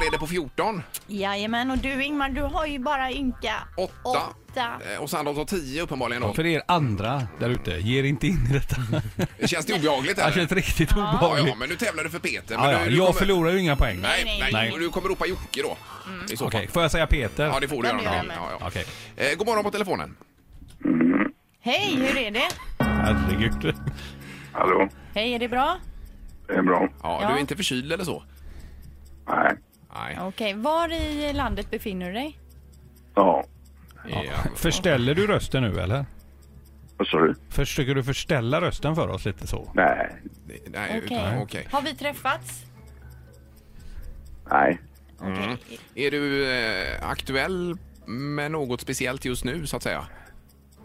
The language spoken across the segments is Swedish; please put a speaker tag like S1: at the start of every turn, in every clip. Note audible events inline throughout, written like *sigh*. S1: blev det på 14.
S2: Jajamän, och du Ingmar, du har ju bara ynka
S1: 8.
S2: åtta.
S1: Eh, Och Sandholt har 10 uppenbarligen då.
S3: För er andra där ute, ge er inte in i detta.
S1: Känns det obehagligt?
S3: Det
S1: här?
S3: här känns riktigt
S1: Ja, ja,
S3: obehagligt.
S1: men nu tävlar du för Peter. Men
S3: Ja, ja,
S1: du, du
S3: jag
S1: kommer-
S3: förlorar ju inga poäng.
S1: Nej, nej,
S3: nej.
S1: Och du kommer ropa Jocke då.
S2: Mm.
S1: I så fall.
S3: Okej, får jag säga Peter?
S1: Ja, det får du
S2: Den gör
S1: göra.
S2: jag med.
S1: Ja, ja.
S3: Okej.
S1: Eh, god morgon på telefonen.
S2: Hej, hur är det?
S3: Herregud.
S4: Hallå,
S2: Hej, är det bra?
S4: det är bra.
S1: Ja,
S2: Ja.
S1: Du är inte förkyld eller så?
S4: Nej,
S1: Nej.
S2: Okej, var i landet befinner du dig?
S4: ja,
S1: Ja.
S3: Förställer du rösten nu eller?
S4: vad sa du?
S3: Försöker du förställa rösten för oss lite så?
S4: Nej,
S1: Det- Nej,
S2: Okej.
S1: utan, okej.
S2: Har vi träffats?
S4: nej,
S1: Är du eh, aktuell med något speciellt just nu så att säga?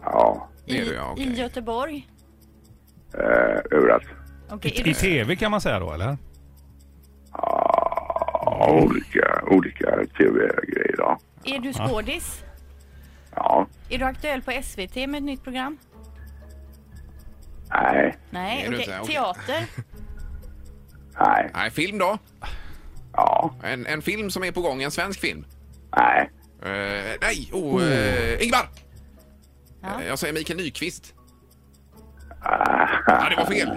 S4: ja,
S1: Det är du ja, okej.
S2: I Göteborg?
S4: eh, överallt.
S2: Okej, är
S3: I
S2: du...
S3: tv kan man säga då eller?
S4: Ja, olika, olika tv-grejer då.
S2: Är du skådis?
S4: Ja,
S2: Är du aktuell på SVT med ett nytt program?
S4: nej,
S2: Nej,
S1: Är du
S2: okej.
S1: inte? Okej. *laughs*
S2: Teater?
S4: nej,
S1: Nej, film då?
S4: ja,
S1: En, en film som är på gång, en svensk film?
S4: nej,
S1: Eh, nej, oh, eh, Ingvar!
S2: Ja.
S1: Eh, Jag säger Mikael Nyqvist. Ja, det var fel.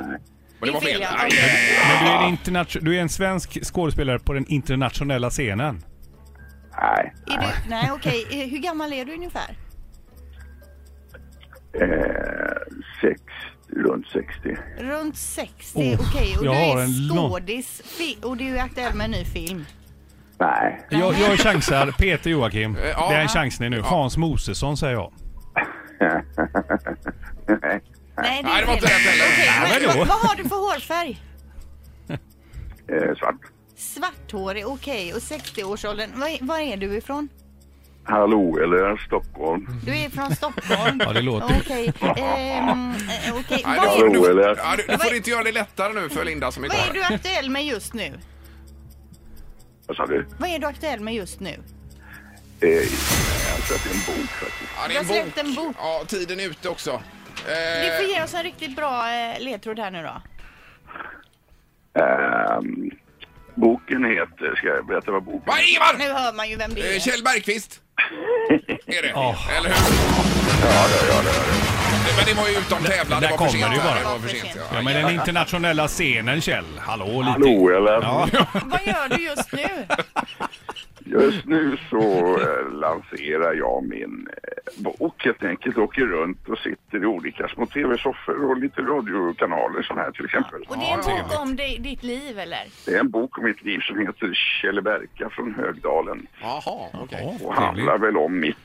S1: Och det
S2: Det
S1: var
S2: är
S1: fel.
S2: fel, ja.
S1: Aj, aj, aj.
S3: Men du är, en internatio- du är en svensk skådespelare på den internationella scenen.
S4: nej,
S2: Är du... Nej, okej. Eh, Hur gammal är du ungefär?
S4: eh, 60, runt 60.
S2: Runt 60,
S3: Oh,
S2: okej. Och
S3: jag
S2: du
S3: har
S2: är
S3: en lång-
S2: skådis fi- och du är aktuell med en ny film.
S4: Nej,
S3: Jag, jag chansar Peter Joakim.
S1: Eh, ja.
S3: Det är en chansning nu. Hans Mosesson säger jag.
S2: Nej,
S1: Nej, det var inte
S2: fel.
S1: rätt heller.
S2: Okej,
S3: Nej,
S2: men
S3: men då.
S2: vad, vad har du för hårfärg?
S4: eh, svart.
S2: Svarthårig, okej. Och 60-årsåldern. Var, är- var är du ifrån?
S4: Hallå, eller Stockholm?
S2: Du är från Stockholm.
S3: *laughs* Ja, det låter-
S2: Okej. ehm, eh, okej.
S1: Nej,
S2: Vad,
S1: det
S2: är,
S1: får
S4: Hallå,
S1: du,
S4: eller?
S1: ja, du, du får inte göra det lättare nu för Linda som är
S2: vad är du
S1: kvar.
S2: aktuell med just nu?
S4: Vad sa du?
S2: Vad är du aktuell med just nu?
S4: Eh, jag har sett en bok faktiskt.
S1: Ja, det
S2: Jag
S1: är
S2: har släppt en bok.
S1: Ja, tiden är ute också. Eh,
S2: Du får ge oss en riktigt bra eh, ledtråd här nu då.
S4: Ehm, boken heter, ska jag berätta vad boken
S1: Vad är Ingvar?
S2: Nu hör man ju vem det
S1: Eh,
S2: är.
S1: Kjell Bergqvist? Är det?
S3: Ja.
S1: Eller hur? Men det var ju utom tävlan.
S3: Där
S1: Det var
S3: kommer
S1: för sent.
S3: det ju bara.
S1: Det var för sent, ja.
S3: Ja, men den internationella scenen Kjell. Hallå lite.
S4: Hallå, eller?
S3: Ja.
S2: Vad gör du just nu?
S4: Just nu så eh, lanserar jag min eh, bok helt enkelt. Åker runt och sitter i olika små tv-soffor och lite radiokanaler sån här till exempel.
S2: Och det är en bok om dig, ditt liv eller?
S4: Det är en bok om mitt liv som heter Källeberka från Högdalen
S1: Jaha, okej.
S3: Ja,
S4: och
S3: trevligt.
S4: handlar väl om mitt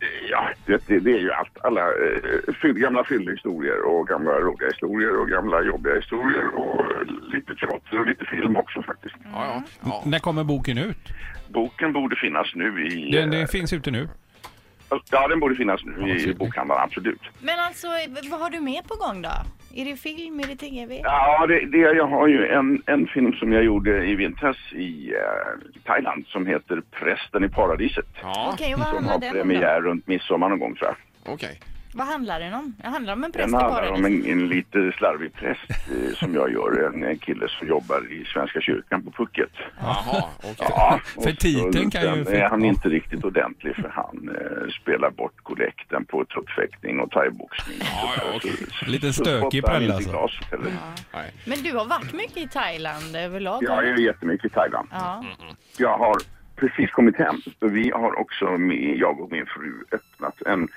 S4: eh, Ja, det, det, det är ju allt. Alla eh, fyll, gamla fyllhistorier och gamla roliga historier och gamla jobbiga historier och eh, lite teater och lite film också faktiskt.
S1: Ja, ja. ja.
S3: När kommer boken ut?
S4: Boken borde finnas nu i...
S3: Den, den finns ute nu.
S4: eh, Ja, den borde finnas nu i bokhandlarna, absolut.
S2: Men alltså, eh, vad har du med på gång då? Är det film? Är det tv?
S4: Ja, det, det, jag har ju en, en film som jag gjorde i vintras i eh, Thailand som heter Prästen i paradiset.
S1: Ja,
S2: Okej, och vad
S4: Som har
S2: handlar den om då?
S4: premiär runt midsommar någon gång tror jag.
S1: okej.
S2: Vad handlar den om? Det handlar om en präst i
S4: Den handlar om
S2: paradiset.
S4: en, en lite slarvig präst eh, som jag gör, en, en kille som jobbar i Svenska kyrkan på Pucket.
S1: Jaha, okej.
S3: *laughs*
S4: Ja, och
S3: För titeln
S4: så-
S3: kan ju-
S4: sen är han inte riktigt ordentlig för han eh, spelar bort kollekten på tuppfäktning och thaiboxning.
S1: Ja, ja, okej.
S3: Lite
S4: Så
S3: stökig
S4: spottar han
S3: pelle
S4: inte
S3: alltså.
S4: glaset, eller?
S1: Nej.
S2: Men du har varit mycket i Thailand överlag?
S4: Jag
S2: har
S4: är
S2: du?
S4: ju jättemycket i Thailand.
S2: ja.
S4: Jag har precis kommit hem. Vi har också, med, jag och min fru, öppnat en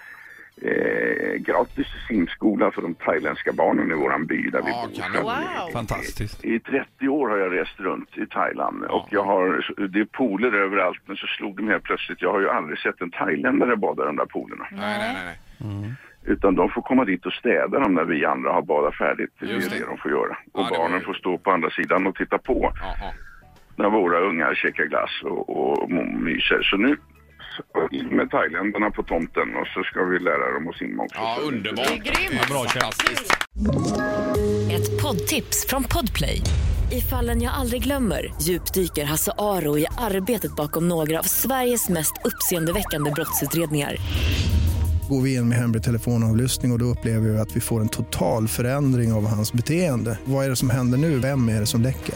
S4: eh, gratis simskola för de thailändska barnen i våran by där vi
S1: Ja,
S4: bor.
S1: Ah, kanon.
S2: Wow!
S3: Fantastiskt.
S4: I 30 år har jag rest runt i Thailand
S1: Ah.
S4: och jag har, det är pooler överallt men så slog de helt plötsligt, jag har ju aldrig sett en thailändare bada i de där poolerna.
S1: Nej, nej, nej, nej.
S4: Utan de får komma dit och städa dem när vi andra har badat färdigt. Det
S1: Just
S4: är
S1: det.
S4: det de får göra.
S1: Ja,
S4: Och
S1: det var
S4: barnen
S1: ju-
S4: får stå på andra sidan och titta på.
S1: Ja, ja.
S4: när våra ungar käkar glass och, och myser. Så nu så in med thailändarna på tomten och så ska vi lära dem att simma också.
S1: Ja, underbart.
S2: Det är grymt.
S1: Ja, bra,
S2: Kjell.
S1: Fantastiskt.
S5: Ett poddtips från Podplay. I fallen jag aldrig glömmer djupdyker Hasse Aro i arbetet bakom några av Sveriges mest uppseendeväckande brottsutredningar.
S6: Går vi in med hemlig telefonavlyssning och, och då upplever vi att vi får en total förändring av hans beteende. Vad är det som händer nu? Vem är det som läcker?